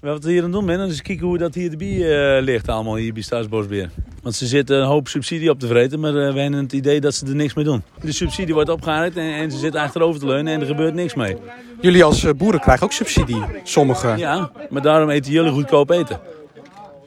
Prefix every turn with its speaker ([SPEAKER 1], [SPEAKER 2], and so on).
[SPEAKER 1] Wat we hier aan het doen ben, is kijken hoe dat hier de bier eh, ligt allemaal hier bij Staatsbosbeheer. Want ze zitten een hoop subsidie op te vreten, maar eh, wij hebben het idee dat ze er niks mee doen. De subsidie wordt opgehaald en, en ze zitten achterover te leunen en er gebeurt niks mee.
[SPEAKER 2] Jullie als eh, boeren krijgen ook subsidie, sommigen.
[SPEAKER 1] Ja, maar daarom eten jullie goedkoop eten.